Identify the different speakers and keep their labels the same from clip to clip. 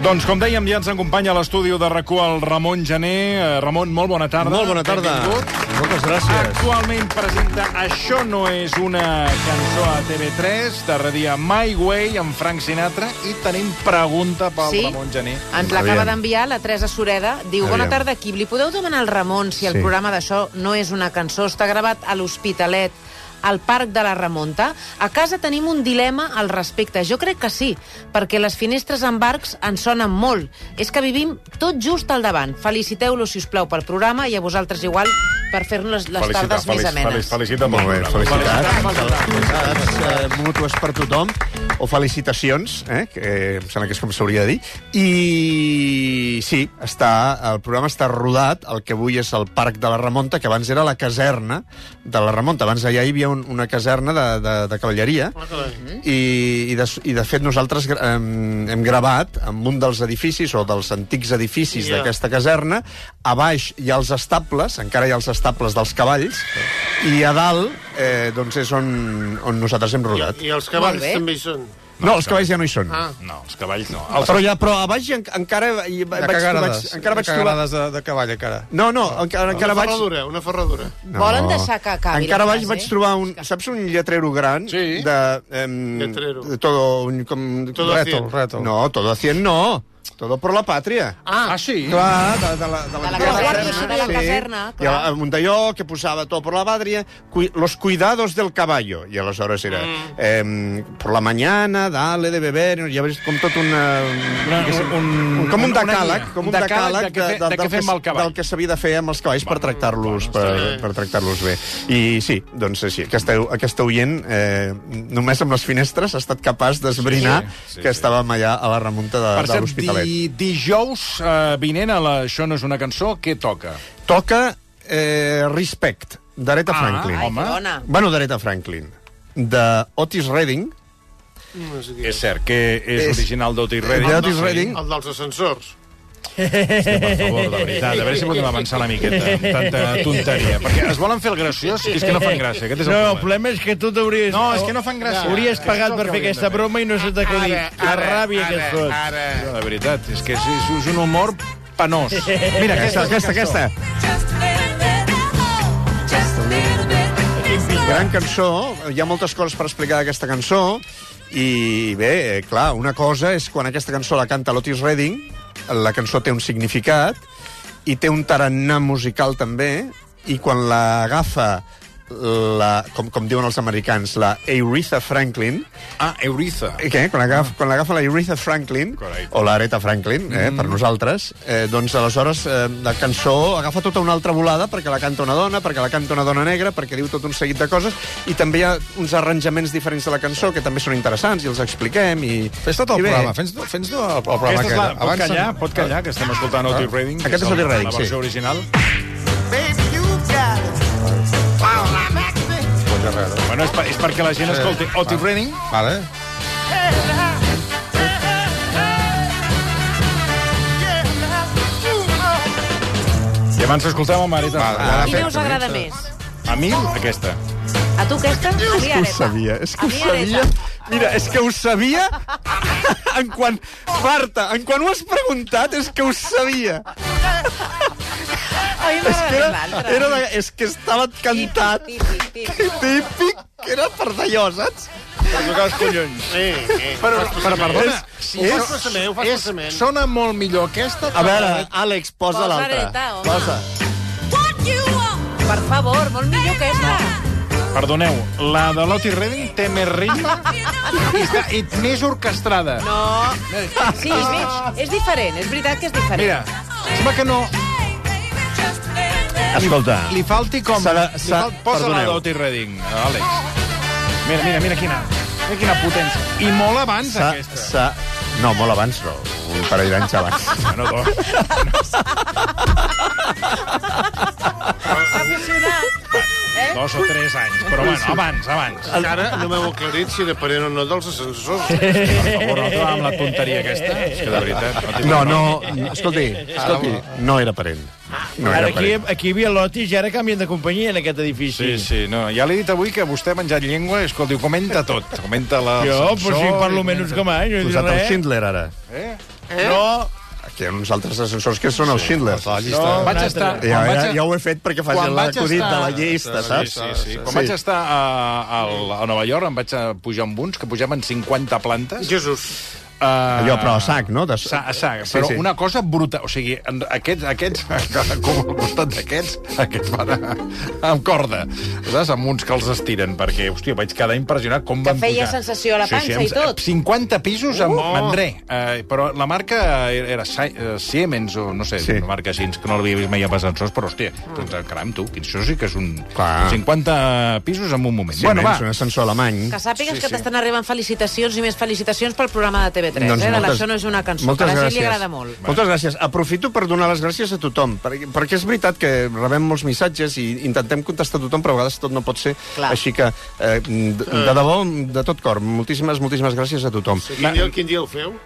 Speaker 1: Doncs com dèiem, ja ens acompanya a l'estudi de rac el Ramon Gené. Eh, Ramon, molt bona tarda.
Speaker 2: Molt bona tarda.
Speaker 1: Benvingut.
Speaker 2: Moltes gràcies.
Speaker 1: Actualment presenta Això no és una cançó a TV3, darrer dia My Way, amb Frank Sinatra, i tenim pregunta pel
Speaker 3: Sí.
Speaker 1: Ramon Gené.
Speaker 3: Ens l'acaba
Speaker 2: Aviam.
Speaker 3: d'enviar la Teresa Sureda. Diu, bona
Speaker 2: Aviam.
Speaker 3: tarda, equip. Li podeu demanar al Ramon si el
Speaker 2: Sí.
Speaker 3: programa d'això no és una cançó? Està gravat a l'Hospitalet, al Parc de la Remonta. A casa tenim un dilema al respecte. Jo crec que sí, perquè les finestres amb arcs ens sonen molt. És que vivim tot just al davant. Feliciteu-lo, si us plau, pel programa i a vosaltres igual per fer-nos Ah, les tardes més amenes.
Speaker 1: felicita
Speaker 2: Molt bé,
Speaker 1: Felicitat.
Speaker 2: felicitats eh, mútues per tothom, o felicitacions, eh, que eh, em sembla que és com s'hauria de dir. I sí, està, el programa està rodat, el que avui és el Parc de la Remonta, que abans era la caserna de la Remonta. Abans allà hi havia un, una caserna de, de, de cavalleria, i, i, de, i de fet nosaltres gra- hem, hem gravat en un dels edificis o dels antics edificis yeah. d'aquesta caserna a baix hi ha els estables encara hi ha els estables dels cavalls i a dalt eh, doncs és on, on nosaltres hem rodat
Speaker 4: I els
Speaker 3: Molt
Speaker 4: cavalls
Speaker 3: bé.
Speaker 4: també hi són.
Speaker 2: no, els cavalls ja no hi són
Speaker 4: Ah.
Speaker 1: No, els cavalls no. Els...
Speaker 2: Però, ja, però a baix en, encara hi, vaig, vaig, encara vaig trobar...
Speaker 5: de, de cavall, encara.
Speaker 2: No, no, encara, encara
Speaker 4: una
Speaker 2: vaig...
Speaker 4: ferradura, una ferradura.
Speaker 2: No.
Speaker 3: Volen deixar que acabi
Speaker 2: Encara
Speaker 3: la
Speaker 2: vaig,
Speaker 3: frase?
Speaker 2: vaig trobar un... Saps un lletrero gran?
Speaker 1: Sí.
Speaker 2: De, ehm,
Speaker 4: Lletrero.
Speaker 2: De todo... Un, com,
Speaker 4: Todo a cien.
Speaker 5: Reto.
Speaker 2: No, todo a 100 no. Todo por la patria.
Speaker 1: Ah, sí?
Speaker 5: Clar, de, de la,
Speaker 3: De la
Speaker 2: De la
Speaker 3: caserna,
Speaker 2: caserna,
Speaker 3: de la
Speaker 2: sí.
Speaker 3: caserna,
Speaker 2: I a
Speaker 3: clar.
Speaker 2: Montelló, que posava tot per la patria, cui- los cuidados del caballo. I aleshores era... Mm. Eh, por la mañana, dale de beber... Ja veus com tot una...
Speaker 1: Una-
Speaker 2: diguéssim,
Speaker 1: un-
Speaker 2: un, com un
Speaker 1: una
Speaker 2: decàleg,
Speaker 1: guia.
Speaker 2: com
Speaker 1: Un
Speaker 2: un
Speaker 1: decàleg de
Speaker 2: decàleg
Speaker 1: què fe- de què
Speaker 2: del,
Speaker 1: fem el
Speaker 2: que,
Speaker 1: cavall.
Speaker 2: del que s'havia de fer amb els cavalls per tractar-los per, per tractar-los bé. I sí, doncs així, aquesta, aquesta oient, eh, només amb les finestres, ha estat capaç d'esbrinar sí, sí, sí, que estàvem allà a la remunta Ah, de,
Speaker 1: Per
Speaker 2: de
Speaker 1: cert,
Speaker 2: l'Hospitalet.
Speaker 1: di, dijous eh, vinent a la Això no és una cançó, què toca?
Speaker 2: Toca eh, Respect, d'Aretha
Speaker 1: Ah,
Speaker 2: Franklin.
Speaker 3: Ai,
Speaker 1: Home.
Speaker 3: que dona.
Speaker 2: Bueno, d'Aretha Franklin. De Otis Redding.
Speaker 4: No sé
Speaker 1: És cert que és,
Speaker 2: És-
Speaker 1: original d'Otis Redding.
Speaker 2: de Otis Redding.
Speaker 4: El dels ascensors.
Speaker 1: Per favor, de veritat, a veure si podem avançar una miqueta amb tanta tonteria. Perquè es volen fer el graciós i és que no fan gràcia. Aquest és el
Speaker 6: No, el
Speaker 1: problema.
Speaker 6: problema és que tu t'hauries...
Speaker 1: No, és que no fan gràcia.
Speaker 6: Hauries
Speaker 1: Això és
Speaker 6: pagat
Speaker 1: el
Speaker 6: per
Speaker 1: que
Speaker 6: fer
Speaker 1: haurien de
Speaker 6: aquesta broma i no se t'ha acudit. La ràbia que et fot.
Speaker 4: Ara,
Speaker 1: No, de veritat, és que és, és, és un humor penós. Mira,
Speaker 2: Aquesta,
Speaker 1: aquesta,
Speaker 2: aquesta, aquesta. Gran cançó, hi ha moltes coses per explicar d'aquesta cançó, i bé, eh, clar, una cosa és quan aquesta cançó la canta l'Otis Redding, la cançó té un significat, i té un tarannà musical també, i quan l'agafa la, com, com diuen els americans, la Aretha Franklin,
Speaker 1: Ah, Euriza.
Speaker 2: Eh, Què? Quan l'agafa quan l'agafa la Aretha Franklin,
Speaker 1: Correcte.
Speaker 2: o l'Aretha Franklin, eh,
Speaker 5: Mm.
Speaker 2: per nosaltres, eh, doncs aleshores eh, la cançó agafa tota una altra volada perquè la canta una dona, perquè la canta una dona negra, perquè diu tot un seguit de coses, i també hi ha uns arranjaments diferents de la cançó que també són interessants i els expliquem. I,
Speaker 5: Fes tot el
Speaker 2: i bé,
Speaker 5: programa, fes, fes tot el, el programa.
Speaker 1: Aquesta és la...
Speaker 5: que-
Speaker 1: Pot callar,
Speaker 5: se'n-
Speaker 1: pot callar, que estem escoltant Ah, Otis Redding. que
Speaker 2: Aquest és
Speaker 1: el-
Speaker 2: Otis Redding,
Speaker 1: La versió
Speaker 2: sí.
Speaker 1: original.
Speaker 5: Pot darrere.
Speaker 1: Bueno, és, per, és perquè la gent escolti Otis Redding.
Speaker 5: Vale.
Speaker 1: I abans escoltàvem amb Marita.
Speaker 5: Vale.
Speaker 3: Quina us agrada més?
Speaker 1: Ah. A mi, aquesta.
Speaker 3: A tu aquesta? A mi,
Speaker 2: Ho
Speaker 3: Areta.
Speaker 2: sabia, és que
Speaker 3: A
Speaker 2: ho
Speaker 3: mi, Areta.
Speaker 2: sabia. Mira, és que ho sabia en quan... Marta, en quan ho has preguntat, és que ho sabia.
Speaker 3: A mi
Speaker 2: És que,
Speaker 3: m'agrada més
Speaker 2: era,
Speaker 3: l'altra.
Speaker 2: era de, és que estava cantat.
Speaker 3: Típic, típic.
Speaker 2: típic que era per d'allò, saps?
Speaker 4: Sí, sí.
Speaker 1: Però, però perdona,
Speaker 4: Ho fas passament, Eh, ho fas passament.
Speaker 1: sona molt millor aquesta.
Speaker 2: A veure, Àlex, posa
Speaker 3: Posa
Speaker 2: l'altra.
Speaker 3: Areta, home.
Speaker 2: Posa.
Speaker 3: Per favor, molt millor que
Speaker 2: Ah.
Speaker 3: aquesta.
Speaker 1: Perdoneu, la de l'Otis Redding té més ritme i, està, i més orquestrada.
Speaker 3: No. Sí, és, és, és diferent, és veritat que és diferent.
Speaker 1: Mira, sembla que no...
Speaker 2: Escolta.
Speaker 1: Li falti com...
Speaker 2: S'ha de-
Speaker 1: li
Speaker 2: s'ha-
Speaker 1: fal- Posa la
Speaker 2: perdoneu.
Speaker 1: d'Otis Redding, Àlex. Mira, mira, mira quina... Mira quina potència. I molt abans,
Speaker 2: S'ha-
Speaker 1: aquesta.
Speaker 2: s'ha- No, molt abans no, un parell d'anys abans.
Speaker 1: Bueno, doncs,
Speaker 3: S'ha fusionat. Eh?
Speaker 1: dos o tres anys, però bueno, abans, abans.
Speaker 4: Encara no m'heu aclarit si depenent o no dels ascensors. Eh,
Speaker 1: Per favor, no trobàvem la tonteria aquesta. És que de veritat... No, tinc-
Speaker 2: No, no, escolti, escolti, no era parent. No
Speaker 6: Ara
Speaker 2: era
Speaker 6: aquí,
Speaker 2: parent.
Speaker 6: aquí hi havia lotis i ara canvien de companyia en aquest edifici.
Speaker 1: Sí, sí, no. Ja l'he dit avui que vostè ha menjat llengua, escolti, ho comenta tot. Comenta la...
Speaker 6: Jo,
Speaker 1: l'ascensor
Speaker 6: però si parlo
Speaker 1: i
Speaker 6: menys
Speaker 1: comenta-
Speaker 6: com a any, no he dit
Speaker 2: Posat el
Speaker 6: res.
Speaker 2: Schindler, ara.
Speaker 1: Eh?
Speaker 6: No,
Speaker 2: Aquí hi ha uns altres ascensors que són els Schindler.
Speaker 1: No, vaig
Speaker 6: un
Speaker 1: estar...
Speaker 6: altre.
Speaker 2: Ja,
Speaker 1: quan vaig
Speaker 2: ja,
Speaker 1: a-
Speaker 2: ja ho he fet perquè faci
Speaker 1: quan vaig
Speaker 2: l'acudit de
Speaker 1: estar-
Speaker 2: la llista, saps?
Speaker 1: Sí, sí, sí. Quan vaig estar a, a, a Nova York em vaig a pujar amb uns que pujaven 50 plantes.
Speaker 4: Jesús.
Speaker 1: Uh,
Speaker 2: Allò, però a sac, no? De...
Speaker 1: Sa, a sac, però sí, sí. una cosa bruta. O sigui, en- aquests, aquests com al costat d'aquests, aquests van a, amb corda. Saps? Amb uns que els estiren, perquè, hòstia, vaig quedar impressionat com
Speaker 3: Que
Speaker 1: van
Speaker 3: feia
Speaker 1: pujar.
Speaker 3: sensació a la panxa i
Speaker 1: amb-
Speaker 3: tot.
Speaker 1: 50 pisos amb, uh! amb res. Eh, però la marca era, era Si- eh, Siemens, o no sé,
Speaker 2: Sí.
Speaker 1: sí. una marca així, que no l'havia vist mai a Besançons, però, hòstia,
Speaker 3: Ah.
Speaker 1: mm. caram, tu, quin- això sí que és un...
Speaker 2: Clar.
Speaker 1: 50 pisos en un moment.
Speaker 2: Sí, bueno, va. Un ascensor alemany.
Speaker 3: Que sàpigues sí, que t'estan arribant felicitacions i més felicitacions pel programa de TV3.
Speaker 2: Doncs
Speaker 3: eh? de
Speaker 2: moltes-
Speaker 3: Això no és una cançó,
Speaker 2: moltes
Speaker 3: que a la gent
Speaker 2: gràcies.
Speaker 3: li agrada molt.
Speaker 2: Moltes gràcies. Aprofito per donar les gràcies a tothom, perquè, perquè és veritat que rebem molts missatges i intentem contestar a tothom, però a vegades tot no pot ser.
Speaker 3: Clar.
Speaker 2: Així que, eh, de, de debò, de tot cor, moltíssimes, moltíssimes gràcies a tothom.
Speaker 4: Quin dia, quin dia el feu?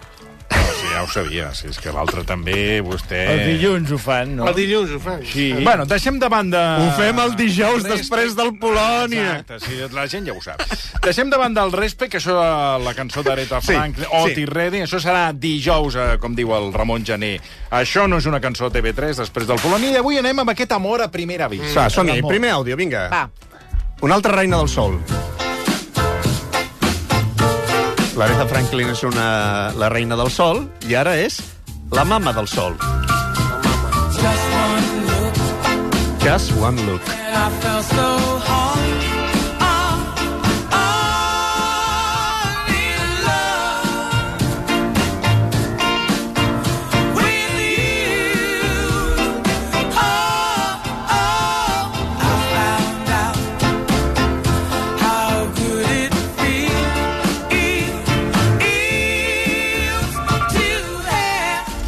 Speaker 1: Sí, ja ho sabia, sí, és que l'altre també, vostè...
Speaker 7: Eh.
Speaker 6: els dilluns ho fan, no?
Speaker 4: El dilluns ho fan. Sí.
Speaker 1: Bueno, deixem de banda...
Speaker 2: Ho fem el dijous
Speaker 1: Respe-
Speaker 2: després del Polònia.
Speaker 1: Exacte, sí, la gent ja ho sap. Deixem de banda el Respe, que això, eh, la cançó d'Areta
Speaker 2: Sí,
Speaker 1: Frank, sí, Oti
Speaker 2: sí.
Speaker 1: sí. Redding, això serà dijous, eh, com diu el Ramon Gené. Això no és una cançó TV3 després del Polònia, i avui anem amb aquest amor a primera vista.
Speaker 2: Va, som-hi. Primer àudio, vinga.
Speaker 3: Va,
Speaker 2: Una altra reina del sol. L'Aretha Franklin és una, la reina del sol i ara és la mama del sol. Just one look.
Speaker 8: Ah, Ah,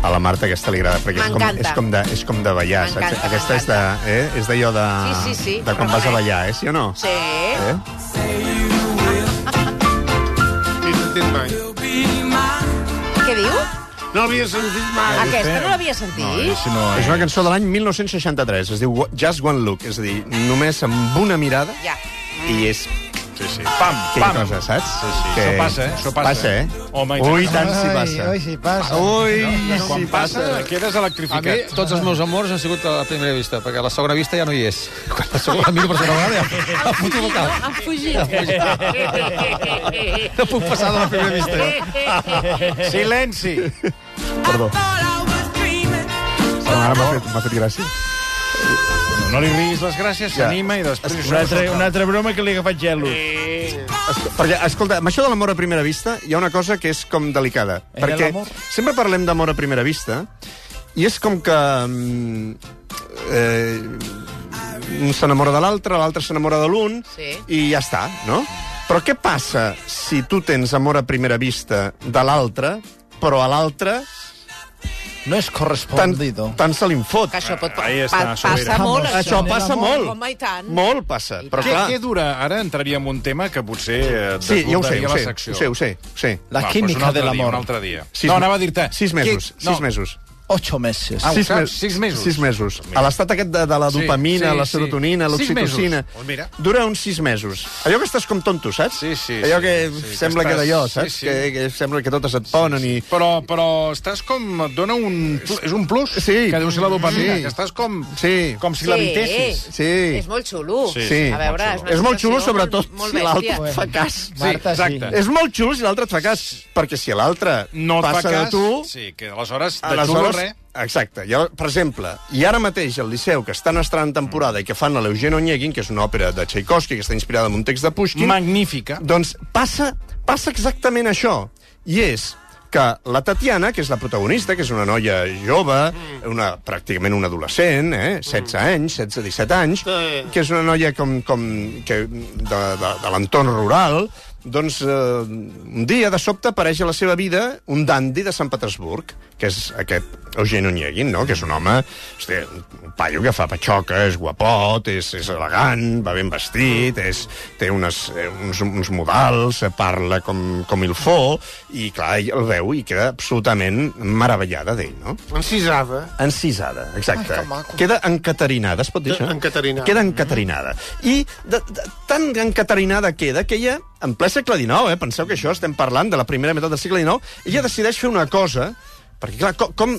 Speaker 2: A la Marta aquesta li agrada, perquè és com,
Speaker 3: M'encanta.
Speaker 2: és com, de, és com de ballar, saps?
Speaker 3: M'encanta,
Speaker 2: Aquesta és de, eh? és d'allò de,
Speaker 3: Sí, sí, sí,
Speaker 2: de quan vas a
Speaker 3: reconec.
Speaker 2: ballar, eh? Sí o no?
Speaker 3: sí. Eh?
Speaker 2: Eh?
Speaker 4: No l'he sentit mai.
Speaker 3: Què diu?
Speaker 4: No l'havia sentit mai.
Speaker 3: Aquesta no l'havia sentit?
Speaker 1: Si no,
Speaker 2: És una cançó de l'any 1963, es diu Just One Look, és a dir, només amb una mirada
Speaker 3: Ja.
Speaker 2: i és
Speaker 1: Sí, sí. Pam,
Speaker 2: que
Speaker 1: pam.
Speaker 2: cosa, saps?
Speaker 1: Sí, sí. Això passa, eh? Això passa.
Speaker 2: Passa, eh?
Speaker 1: Home, i tant.
Speaker 2: Ui, tant si passa.
Speaker 7: Ai, si passa.
Speaker 2: Ui,
Speaker 1: Quan
Speaker 2: si
Speaker 1: passa, eh,
Speaker 2: passa.
Speaker 1: quedes
Speaker 5: A mi,
Speaker 1: electrificat.
Speaker 5: tots els meus amors han sigut a la primera vista, perquè a la segona vista ja no hi és. Quan la segona miro per segona vegada, ja la foto al cap.
Speaker 3: Han fugit.
Speaker 5: No puc passar de la primera vista. Jo.
Speaker 1: Silenci.
Speaker 2: Perdó. Ara m'ha fet, m'ha fet gràcia.
Speaker 1: No li riguis les gràcies,
Speaker 2: Ja.
Speaker 1: s'anima i després...
Speaker 6: Una altra, una altra broma que li he agafat gelo.
Speaker 2: Esco- Perquè, escolta, amb això de l'amor a primera vista hi ha una cosa que és com delicada.
Speaker 1: Eh,
Speaker 6: En
Speaker 2: perquè
Speaker 6: l'amor?
Speaker 2: sempre parlem d'amor a primera vista i és com que... mm, Eh, un s'enamora de l'altre, l'altre s'enamora de l'un
Speaker 3: Sí.
Speaker 2: i ja està, no? Però què passa si tu tens amor a primera vista de l'altre, però a l'altre
Speaker 7: No és
Speaker 2: tant,
Speaker 7: correspondido.
Speaker 2: tant se li fot?
Speaker 3: Que això pot...
Speaker 1: Ahí està,
Speaker 3: pa-
Speaker 1: Sobirà.
Speaker 3: passa molt,
Speaker 2: Això
Speaker 3: això.
Speaker 2: passa molt.
Speaker 3: Home, i tant.
Speaker 2: Molt passa. Però
Speaker 1: Què,
Speaker 2: clar,
Speaker 1: què dura? Ara entraria en un tema que potser eh,
Speaker 2: sí, ja ho sé,
Speaker 1: desbordaria
Speaker 2: ho
Speaker 1: la
Speaker 2: sé,
Speaker 1: secció.
Speaker 2: ho sé, ho sé, ho sé.
Speaker 7: La
Speaker 1: Va, doncs un
Speaker 7: química
Speaker 1: altre
Speaker 7: de
Speaker 1: dia,
Speaker 7: l'amor.
Speaker 1: Un altre dia.
Speaker 2: Sis
Speaker 1: no,
Speaker 2: me-
Speaker 1: anava a dir-te...
Speaker 2: Sis mesos,
Speaker 1: Què- no.
Speaker 2: sis meses.
Speaker 7: Ocho meses.
Speaker 1: Ah, ho
Speaker 2: Sis
Speaker 1: saps?
Speaker 2: mesos.
Speaker 1: Sis mesos.
Speaker 2: Sis mesos. A l'estat aquest de, de la
Speaker 5: Sí,
Speaker 2: dopamina,
Speaker 5: sí,
Speaker 2: la
Speaker 5: sí.
Speaker 2: serotonina,
Speaker 1: Sis
Speaker 2: l'oxitocina...
Speaker 1: mesos. Doncs mira.
Speaker 2: Dura uns sis mesos. Allò que estàs com tonto, saps?
Speaker 1: Sí, sí,
Speaker 2: Allò
Speaker 1: sí,
Speaker 2: que
Speaker 1: sí, que
Speaker 2: sembla que,
Speaker 1: estàs-
Speaker 2: d'allò,
Speaker 1: sí,
Speaker 2: saps?
Speaker 1: sí.
Speaker 2: Que, que sembla que totes et ponen i...
Speaker 1: Però, però estàs com... Et dona un... pl- És un plus?
Speaker 2: Sí.
Speaker 1: Que deu ser la dopamina.
Speaker 2: Sí.
Speaker 1: Que estàs com...
Speaker 2: Mm. Sí.
Speaker 1: Com si la vitessis.
Speaker 2: Sí.
Speaker 3: És molt xulo.
Speaker 1: Sí,
Speaker 2: sí,
Speaker 3: A veure, és, una
Speaker 2: És molt xulo,
Speaker 3: situació
Speaker 2: sobretot,
Speaker 3: molt, molt
Speaker 2: si l'altre
Speaker 3: bèstia.
Speaker 2: et fa cas.
Speaker 7: Marta, sí.
Speaker 1: exacte.
Speaker 2: És molt xulo si l'altre et fa cas, perquè si l'altre
Speaker 1: No et fa
Speaker 2: passa
Speaker 1: cas...
Speaker 2: de tu...
Speaker 1: Sí, que aleshores... de xulo,
Speaker 2: Aleshores,
Speaker 1: res.
Speaker 2: exacte. I, ara, per exemple, i ara mateix al Liceu, que estan estrenant temporada i que fan l'Eugène Onegin, que és una òpera de Tchaikovsky que està inspirada en un text de Pushkin,
Speaker 1: Magnífica.
Speaker 2: doncs passa, passa exactament això. I és que la Tatiana, que és la protagonista, que és una noia jove, una, pràcticament una adolescent, eh? 16
Speaker 1: Mm.
Speaker 2: anys, 16-17 anys,
Speaker 4: Sí.
Speaker 2: que és una noia com, com que de, de, de l'entorn rural, doncs eh, un dia de sobte apareix a la seva vida un dandi de Sant Petersburg, que és aquest Eugen Onyegin, no? que és un home, hosti, un paio que fa patxoca, és guapot, és, és elegant, va ben vestit, és, té unes, eh, uns, uns modals, eh, parla com, com il fo, i clar, ell el veu i queda absolutament meravellada d'ell, no?
Speaker 4: Encisada.
Speaker 2: Encisada, exacte.
Speaker 4: Ai, que maco.
Speaker 2: Queda encaterinada, es pot dir
Speaker 4: De-
Speaker 2: això?
Speaker 4: encaterinada.
Speaker 2: Queda encaterinada. I de, de, tan encaterinada queda que ella, en ple segle XIX, eh, penseu que això estem parlant de la primera meitat del segle XIX, ella decideix fer una cosa, perquè clar, com... com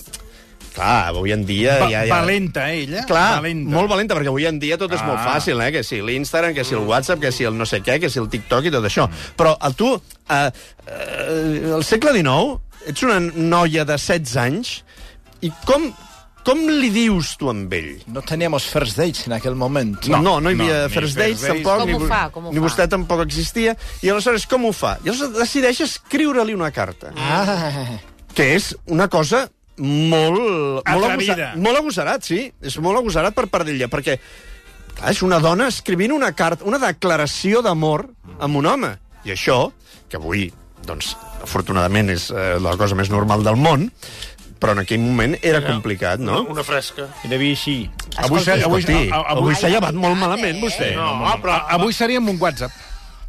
Speaker 2: clar, avui en dia...
Speaker 7: Va
Speaker 2: ja, ja...
Speaker 7: Valenta,
Speaker 6: eh,
Speaker 7: ella.
Speaker 2: Clar,
Speaker 7: valenta.
Speaker 2: molt valenta, perquè avui en dia tot és molt fàcil, eh? Que si l'Instagram, que si el WhatsApp, que si el no sé què, que si el TikTok i tot això. Però a tu, eh, eh, al segle XIX, ets una noia de 16 anys i com, com li dius tu amb ell?
Speaker 7: No teníamos first dates en aquel momento.
Speaker 2: No, no, no hi
Speaker 1: no,
Speaker 2: havia
Speaker 1: ni
Speaker 2: no, first dates,
Speaker 1: first dates.
Speaker 2: tampoc.
Speaker 3: Com
Speaker 2: ni,
Speaker 3: ho
Speaker 2: vo-
Speaker 3: fa, com ho
Speaker 2: ni
Speaker 3: fa?
Speaker 2: vostè tampoc existia. I aleshores, com ho fa? I aleshores decideix escriure-li una carta.
Speaker 7: Ah,
Speaker 2: que és una cosa molt... Molt,
Speaker 6: Atrevida.
Speaker 2: molt agosarat, sí. És molt agosarat per part d'ella, perquè clar, és una dona escrivint una carta, una declaració d'amor amb un home. I això, que avui, doncs, afortunadament és eh, la cosa més normal del món, però en aquell moment era complicat, no?
Speaker 4: Una fresca.
Speaker 6: Era vi així.
Speaker 1: Avui s'ha- avui- a-
Speaker 2: Escolti,
Speaker 1: a- avui- Eh,
Speaker 2: avui s'ha llevat molt malament, vostè.
Speaker 4: No, però...
Speaker 1: Avui seria amb un WhatsApp.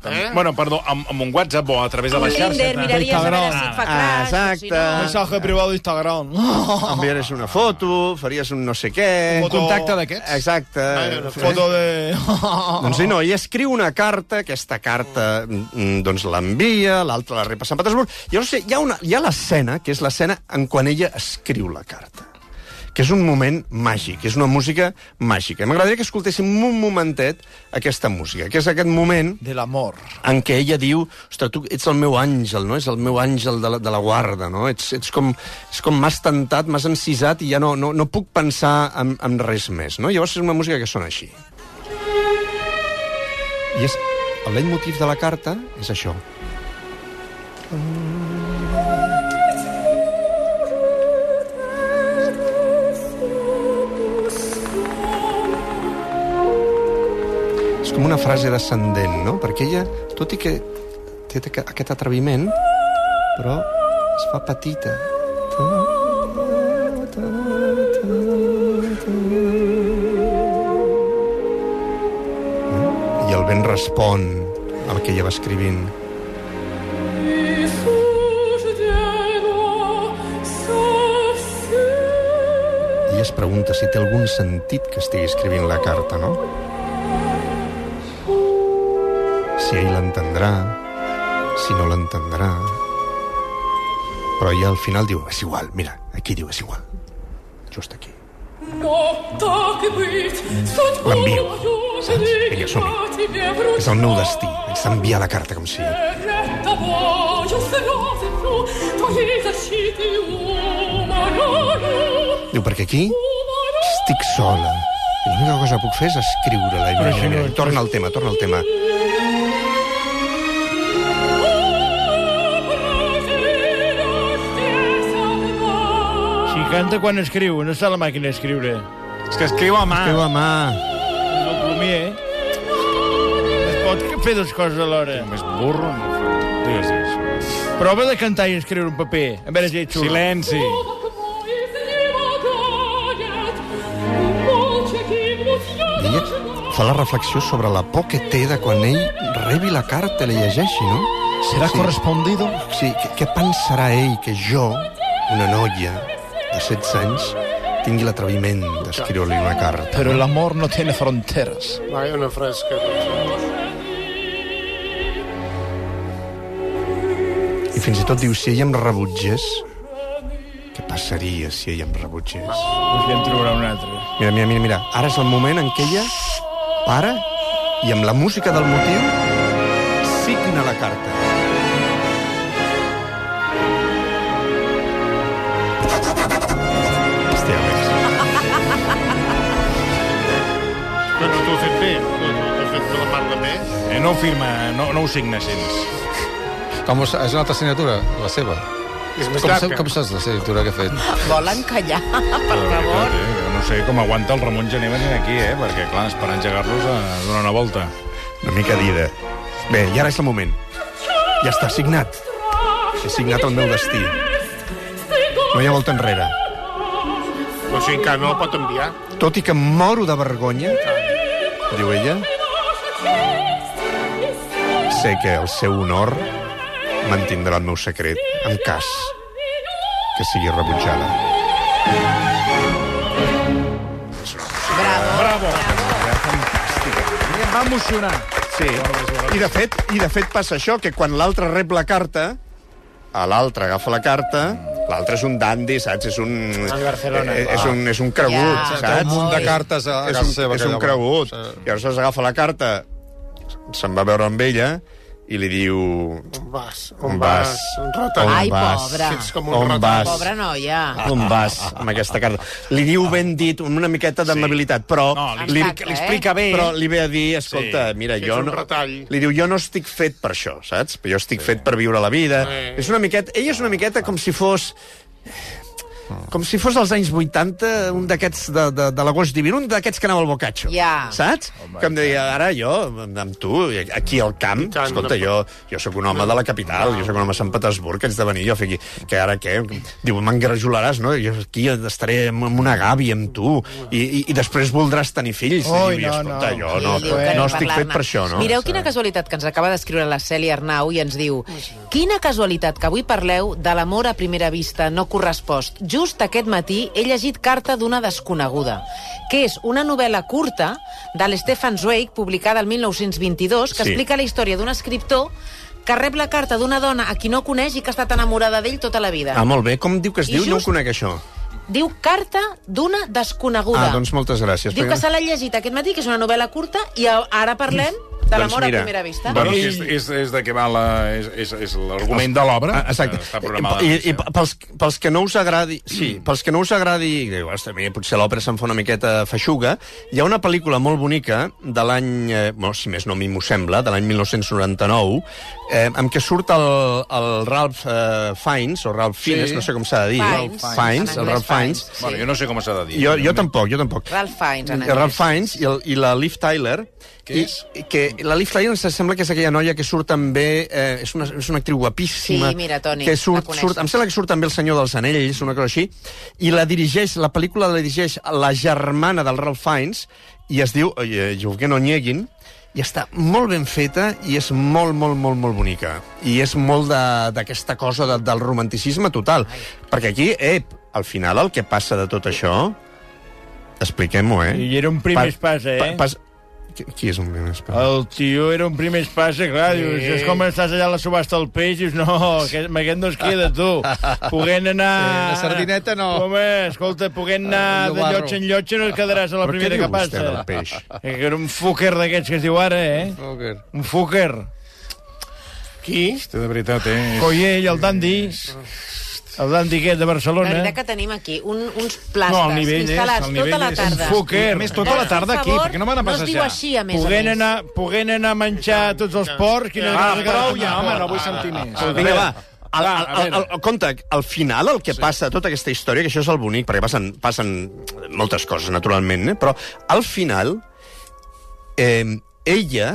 Speaker 4: Eh?
Speaker 1: Bueno, perdó, amb, amb un WhatsApp o a través de la xarxa.
Speaker 3: Tinder, miraries a veure si et fa
Speaker 2: Ah,
Speaker 3: crash, o si no...
Speaker 2: exacte.
Speaker 6: Mensaje privado de Instagram. Oh,
Speaker 2: Enviaries una foto, faries un no sé què...
Speaker 6: Un contacte
Speaker 5: d'aquests?
Speaker 2: Exacte.
Speaker 4: Ai, Ah, no, no,
Speaker 2: Eh?
Speaker 6: Foto de...
Speaker 2: Doncs sí, no, ell escriu una carta, aquesta carta mm, doncs l'envia, l'altra la rep a Sant Petersburg. I no sé, hi ha, una, hi ha l'escena, que és l'escena en quan ella escriu la carta que és un moment màgic, és una música màgica. M'agradaria que escoltéssim un momentet aquesta música, que és aquest moment
Speaker 7: de l'amor.
Speaker 2: en què ella diu, ostres, tu ets el meu àngel, no? És el meu àngel de la, de la guarda, no? Ets, ets com, és com m'has tentat, m'has encisat i ja no, no, no puc pensar en, en res més, no? Llavors és una música que sona així. I és... El leitmotiv de la carta és això. És com una frase descendent, no? Perquè ella, tot i que té aqu- aquest atreviment, però es fa petita. Eh? I el vent respon al que ella va escrivint. I ella es pregunta si té algun sentit que estigui escrivint la carta, no? si ell l'entendrà, si no l'entendrà... Però ja al final diu, és igual, mira, aquí diu, és igual. Just aquí.
Speaker 9: L'envio, saps?
Speaker 2: Vinga,
Speaker 9: Vinga,
Speaker 2: som-hi.
Speaker 9: som-hi.
Speaker 2: És el meu destí, és enviar la carta com sigui. Diu, perquè aquí estic sola. I L'única cosa que puc fer és escriure-la. Mira, mira, mira. Torna al tema, torna al tema.
Speaker 6: Si canta quan escriu, no està a la màquina a escriure.
Speaker 1: És que escriu a mà.
Speaker 2: Teva mà.
Speaker 6: No Plumier. Es pot fer dues coses alhora.
Speaker 1: Més burro. no? Digues, digues.
Speaker 6: Prova de cantar i escriure un paper. A veure si ets surt.
Speaker 1: Silenci.
Speaker 2: I ella fa la reflexió sobre la por que té de quan ell rebi la carta i la llegeixi, no?
Speaker 7: Serà
Speaker 2: Sí.
Speaker 7: correspondido?
Speaker 2: Sí, què, què pensarà ell que jo, una noia de 16 anys, tingui l'atreviment d'escriure-li una carta?
Speaker 7: Pero el amor no tiene fronteras.
Speaker 4: Ai, una fresca.
Speaker 2: I fins i tot diu, si ella em rebutgés, què passaria si ella em rebutgés?
Speaker 6: Doncs ja en trobarà un altre.
Speaker 2: Mira, mira, mira, mira. Ara és el moment en què ella para i amb la música del motiu signa la carta. Hòstia, Alex.
Speaker 4: No, no t'ho he fet bé. No, no, t'ho he fet de la part de bé.
Speaker 1: Eh, no ho firma, no, no ho signa gens.
Speaker 5: Com, és una altra assignatura, la seva.
Speaker 4: És més
Speaker 5: Com, sa-
Speaker 4: llarg.
Speaker 5: com saps la signatura que ha fet?
Speaker 3: Volen callar, per favor.
Speaker 1: No sé com aguanta el Ramon Gené venint aquí, eh? Perquè, clar, és per engegar-los a donar una eh, volta.
Speaker 2: Una mica d'ida. Bé, i ara és el moment. Ja està signat. He signat el meu destí. No hi ha volta enrere.
Speaker 4: O sigui, encara no el pot enviar.
Speaker 2: Tot i que em moro de vergonya, diu ella, sé que el seu honor mantindrà el meu secret en cas que sigui rebutjada.
Speaker 3: Bravo.
Speaker 6: Em va emocionar.
Speaker 2: Sí. I de fet, i de fet passa això, que quan l'altre rep la carta, a l'altre agafa la carta, l'altre és un dandi, saps? És un...
Speaker 6: Barcelona.
Speaker 2: eh, És un, és un cregut,
Speaker 3: Ja.
Speaker 2: saps?
Speaker 5: Té un munt de cartes a
Speaker 2: és
Speaker 5: casa
Speaker 2: un,
Speaker 5: seva.
Speaker 2: és un
Speaker 5: aquella
Speaker 2: cregut.
Speaker 5: bona.
Speaker 2: I aleshores agafa la carta, se'n va veure amb ella, i li diu...
Speaker 4: On vas?
Speaker 2: On
Speaker 4: On
Speaker 2: vas?
Speaker 4: vas? Un retallat.
Speaker 3: Ai,
Speaker 2: On vas?
Speaker 3: pobra.
Speaker 4: Ets com un
Speaker 2: On
Speaker 4: retallat.
Speaker 2: vas?
Speaker 3: Pobra noia.
Speaker 2: On vas amb aquesta carta? Li diu ben dit, amb una miqueta d'amabilitat, però...
Speaker 1: No, li-
Speaker 3: Exacte,
Speaker 1: li explica bé.
Speaker 2: eh? Però li ve a dir, escolta, mira,
Speaker 4: Que
Speaker 2: jo
Speaker 4: és un
Speaker 2: no...
Speaker 4: retall.
Speaker 2: Li diu, jo no estic fet per això, saps? Però jo estic fet per viure la vida.
Speaker 4: Eh.
Speaker 2: És una miqueta... Ella és una miqueta com si fos... Com si fos als anys 80, un d'aquests de, de, de l'agost diví, un d'aquests que anava al bocatxo.
Speaker 3: Ja.
Speaker 2: Saps? Home, que em deia, ara jo, amb tu, aquí al camp,
Speaker 4: tant,
Speaker 2: escolta,
Speaker 4: no
Speaker 2: jo, jo sóc un home de la capital, jo sóc un home de Sant Petersburg, que haig de venir jo a fer aquí, que ara què? Diu, m'engrajolaràs, no? Jo aquí estaré amb amb una gàbia amb tu, i, i, i després voldràs tenir fills.
Speaker 7: Ui,
Speaker 2: I,
Speaker 7: no,
Speaker 2: escolta,
Speaker 7: no.
Speaker 2: jo
Speaker 3: I
Speaker 2: no,
Speaker 3: diu que
Speaker 2: no
Speaker 3: ni
Speaker 2: estic
Speaker 3: parlar-ne.
Speaker 2: fet per això, no?
Speaker 3: Mireu quina casualitat que ens acaba d'escriure la Cèlia Arnau i ens diu Quina casualitat que avui parleu de l'amor a primera vista no correspost. Just aquest matí he llegit Carta d'una desconeguda, que és una novel·la curta de l'Stefan Zweig, publicada el 1922, que
Speaker 2: Sí.
Speaker 3: sí. explica la història d'un escriptor que rep la carta d'una dona a qui no coneix i que ha estat enamorada d'ell tota la vida.
Speaker 2: Ah, molt bé. Com diu que es
Speaker 3: I
Speaker 2: diu? No ho
Speaker 3: just-
Speaker 2: conec, això.
Speaker 3: Diu Carta d'una desconeguda.
Speaker 2: Ah, doncs moltes gràcies.
Speaker 3: Diu
Speaker 2: perquè-
Speaker 3: que se l'ha llegit aquest matí, que és una novel·la curta, i a- ara parlem de
Speaker 2: Doncs
Speaker 3: l'amor
Speaker 2: mira,
Speaker 3: a primera vista.
Speaker 1: Bueno, és, és, és de què va la, és, és, és l'argument de l'obra.
Speaker 2: Ah, Exacte.
Speaker 1: que Està programada.
Speaker 2: I, i pels, pels que no us agradi... Sí, pels que no us agradi... diu, "Ostres, a mi potser l'òpera se'n fa una miqueta feixuga. Hi ha una pel·lícula molt bonica de l'any... Eh, bueno, si més no, a mi m'ho sembla, de l'any 1999, eh, amb què surt el, el Ralph eh, Fiennes, o Ralph Fiennes, no sé com s'ha de dir.
Speaker 3: Fiennes.
Speaker 2: Fiennes, el
Speaker 3: En anglès,
Speaker 2: Ralph Fiennes.
Speaker 3: Fiennes.
Speaker 1: Bueno, jo no sé com s'ha de dir.
Speaker 2: Jo, jo tampoc, jo tampoc.
Speaker 3: Ralph Fiennes, en
Speaker 2: I Ralph
Speaker 3: anglès.
Speaker 2: Fiennes i, el, i la Liv Tyler.
Speaker 5: Què
Speaker 2: i,
Speaker 5: és?
Speaker 2: i Que la Liv Tyler em sembla que és aquella noia que surt també... Eh, és, una, és una actriu guapíssima.
Speaker 3: Sí, mira, Toni,
Speaker 2: que
Speaker 3: la
Speaker 2: surt,
Speaker 3: coneixes.
Speaker 2: surt, em sembla que surt també El senyor dels anells, una cosa així. I la dirigeix, la pel·lícula la dirigeix la germana del Ralph Fiennes i es diu eh, Jürgen Onegin, i està molt ben feta i és molt, molt, molt, molt bonica. I és molt de- d'aquesta cosa de, del romanticisme total. Perquè aquí, ep, al final el que passa de tot això... Expliquem-ho, eh?
Speaker 6: I era un primer pas, eh?
Speaker 2: Pa, pas... Qui, qui és un primer espasa?
Speaker 6: El tio era un primer espasa, clar, sí. dius, és com estàs allà a la subhasta del peix, dius, no, aquest, amb aquest no es queda, tu. Puguent anar...
Speaker 5: Sí, la sardineta no.
Speaker 6: Home, escolta, puguent anar
Speaker 5: El
Speaker 6: de
Speaker 5: llobarro.
Speaker 6: llotja en llotja no et quedaràs a la
Speaker 2: Però què
Speaker 6: primera
Speaker 2: diu
Speaker 6: que
Speaker 2: vostè del
Speaker 6: passa.
Speaker 2: peix?
Speaker 6: Eh, Que era un fucker d'aquests que es diu ara, eh?
Speaker 5: Poker.
Speaker 6: Un fucker.
Speaker 4: Qui?
Speaker 1: Hòstia, de veritat, eh?
Speaker 6: Coyell, el dandi. El dandi aquest de
Speaker 3: La
Speaker 6: Barcelona.
Speaker 3: veritat que tenim aquí un, uns plastes
Speaker 6: No, el nivell és,
Speaker 3: instal·lats
Speaker 6: el
Speaker 3: tota
Speaker 6: nivell
Speaker 3: la
Speaker 6: és un
Speaker 3: tarda.
Speaker 6: fucker.
Speaker 1: Més tota la tarda aquí, perquè no van a
Speaker 3: no es diu
Speaker 1: passejar.
Speaker 3: així, a més
Speaker 6: Puguent
Speaker 3: a més.
Speaker 6: anar, puguent anar a menjar a tots els porcs... Quina
Speaker 4: Ah,
Speaker 6: cosa que-
Speaker 4: prou ja, home, no
Speaker 1: vull sentir més.
Speaker 2: Vinga, va. Al, al, al, al, al, compte, al final el que sí. passa, tota aquesta història, que això és el bonic, perquè passen, passen moltes coses, naturalment, eh? però al final eh, ella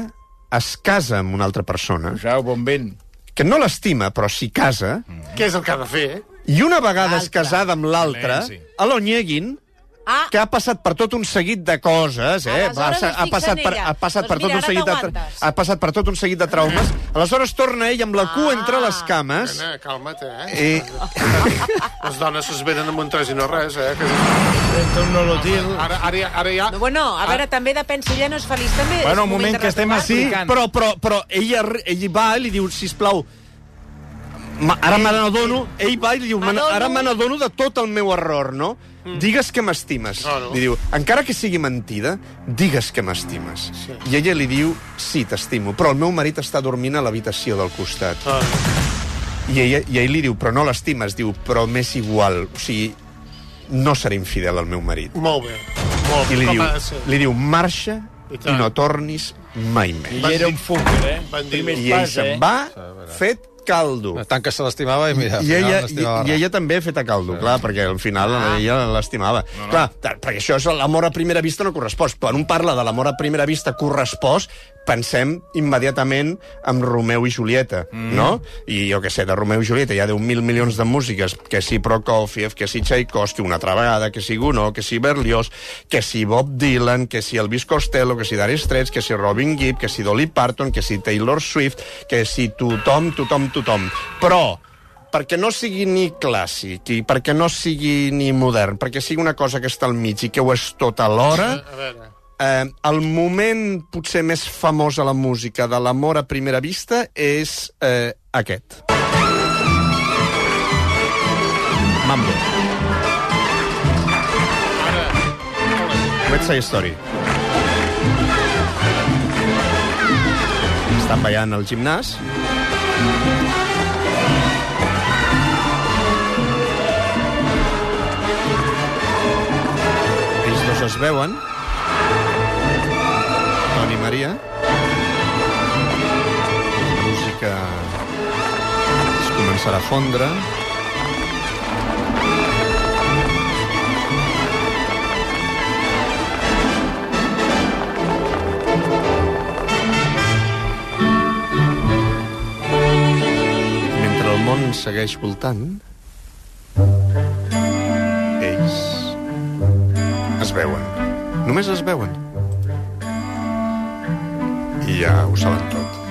Speaker 2: es casa amb una altra persona,
Speaker 6: Posau, bon vent.
Speaker 2: que no l'estima, però s'hi casa,
Speaker 6: Mm.
Speaker 4: Què és el que ha de fer, eh?
Speaker 2: i una vegada es
Speaker 3: L'altra.
Speaker 2: casada amb l'altra,
Speaker 1: Silenci.
Speaker 2: a l'Onyeguin,
Speaker 3: Ah,
Speaker 2: que ha passat per tot un seguit de coses, eh?
Speaker 3: Aleshores
Speaker 2: Va,
Speaker 3: es
Speaker 2: s'ha- ha,
Speaker 3: fixa
Speaker 2: passat
Speaker 3: en
Speaker 2: per,
Speaker 3: ella.
Speaker 2: ha passat
Speaker 3: Doncs
Speaker 2: per tot un
Speaker 3: mira, ara
Speaker 2: seguit de tra-
Speaker 3: t'aguantes.
Speaker 2: ha passat per tot un seguit de traumes. Aleshores torna ell amb la cua
Speaker 3: Ah.
Speaker 2: entre les cames.
Speaker 4: Anna, calma't, eh?
Speaker 2: I...
Speaker 4: Les dones s'esvenen amb un tres i no res, eh? Que...
Speaker 6: Sento un nolotil.
Speaker 4: Ara, ara, ja- ara ja...
Speaker 3: no, bueno, a veure, també depèn si ja no és feliç, també és
Speaker 1: Bueno, un moment que estem
Speaker 3: retrobar.
Speaker 1: així.
Speaker 2: Però, però, però ell, arri- ell va i li diu, sisplau, ma- ara me n'adono, ell va i li diu, "Me n- ara me n'adono de tot el meu error, no? Digues que m'estimes.
Speaker 4: Mm. Claro.
Speaker 2: Li diu, encara que sigui mentida, digues que m'estimes. I ella li diu, sí, t'estimo, però el meu marit està dormint a l'habitació del costat.
Speaker 4: Ah.
Speaker 2: I, ella, I ell li diu, però no l'estimes, diu, però m'és igual, o sigui, no seré infidel al meu marit.
Speaker 4: Molt bé. Molt bé.
Speaker 2: I li
Speaker 4: Com
Speaker 2: diu,
Speaker 4: ha de ser?
Speaker 2: li diu marxa
Speaker 4: I
Speaker 2: i
Speaker 4: tant.
Speaker 2: no tornis mai més.
Speaker 6: I era un fucker, eh?
Speaker 4: Bandido.
Speaker 6: Primer
Speaker 2: I ell
Speaker 6: pas, eh?
Speaker 2: se'n va fet caldo.
Speaker 5: Tant que se l'estimava i mira, al
Speaker 2: I
Speaker 5: final
Speaker 2: ella, i,
Speaker 5: l'estimava
Speaker 2: I
Speaker 5: res.
Speaker 2: ella també ha fet a caldo, clar, perquè al final ah. ella l'estimava. No, no. Clar, ta- perquè això és l'amor a primera vista no correspost. Quan un parla de l'amor a primera vista correspost, pensem immediatament en Romeu i Julieta, mm. no? I jo què sé, de Romeu i Julieta hi ha 10.000 milions de músiques, que si Prokofiev, que si Tchaikovsky una altra vegada, que si Gounod, que si Berlioz, que si Bob Dylan, que si Elvis Costello, que si Dire Straits, que si Robin Gibb, que si Dolly Parton, que si Taylor Swift, que si tothom, tothom, tothom. Però perquè no sigui ni clàssic i perquè no sigui ni modern, perquè sigui una cosa que està al mig i que ho és tot alhora,
Speaker 4: A veure...
Speaker 2: eh, el moment potser més famós a la música de l'amor a primera vista és eh, aquest. Mambo. West Side Story. Estan ballant al gimnàs. Ells dos es veuen. Toni i Maria. La música es començarà a fondre. Mentre el món segueix voltant, ells es veuen. Només es veuen i ja ho saben tot.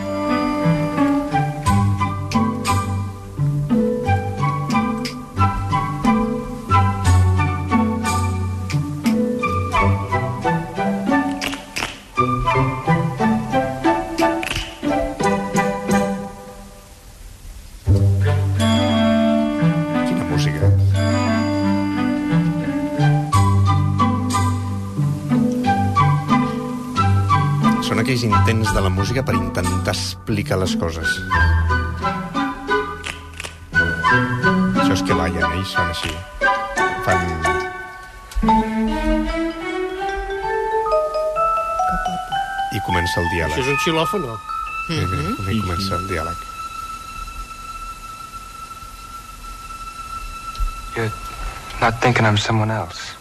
Speaker 2: Quina música. Són aquells intents de la música per intentar explicar les coses. Això és que ballen, ells són així. Fan... I comença el diàleg.
Speaker 4: Això és un xilòfon, no?
Speaker 2: Mm -hmm. I comença el diàleg.
Speaker 10: You're not thinking I'm someone else.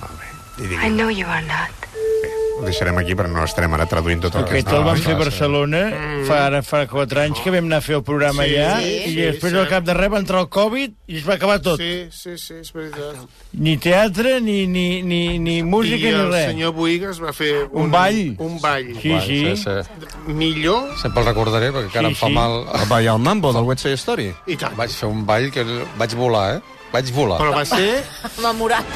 Speaker 2: Molt bé. I digui,
Speaker 8: I know you are not.
Speaker 2: bé, ho deixarem aquí, però no estarem ara traduint tot el que
Speaker 6: Aquest
Speaker 2: està...
Speaker 6: el van fer a
Speaker 2: clar,
Speaker 6: Barcelona fa, ara fa 4 anys que vam anar a fer el programa
Speaker 4: Mm. Sí,
Speaker 6: allà
Speaker 4: sí,
Speaker 6: i
Speaker 4: sí,
Speaker 6: després al
Speaker 4: sí.
Speaker 6: cap de res va entrar el Covid i es va acabar tot.
Speaker 4: Sí, sí, sí, és veritat.
Speaker 6: Ni teatre, ni, ni, ni, ni música,
Speaker 4: I
Speaker 6: ni
Speaker 4: el
Speaker 6: res.
Speaker 4: senyor Boigas va fer un,
Speaker 6: Un ball.
Speaker 4: Un ball.
Speaker 6: Sí,
Speaker 5: Sí,
Speaker 6: sí.
Speaker 5: sí.
Speaker 4: Millor
Speaker 5: Sempre el recordaré, perquè encara
Speaker 6: Sí,
Speaker 5: sí, em fa
Speaker 6: sí.
Speaker 5: mal...
Speaker 2: Va, i el mambo del West Side Story?
Speaker 4: i tant.
Speaker 5: Vaig fer un ball que vaig volar, eh? Vaig volar.
Speaker 4: Però va ser
Speaker 3: Memorable.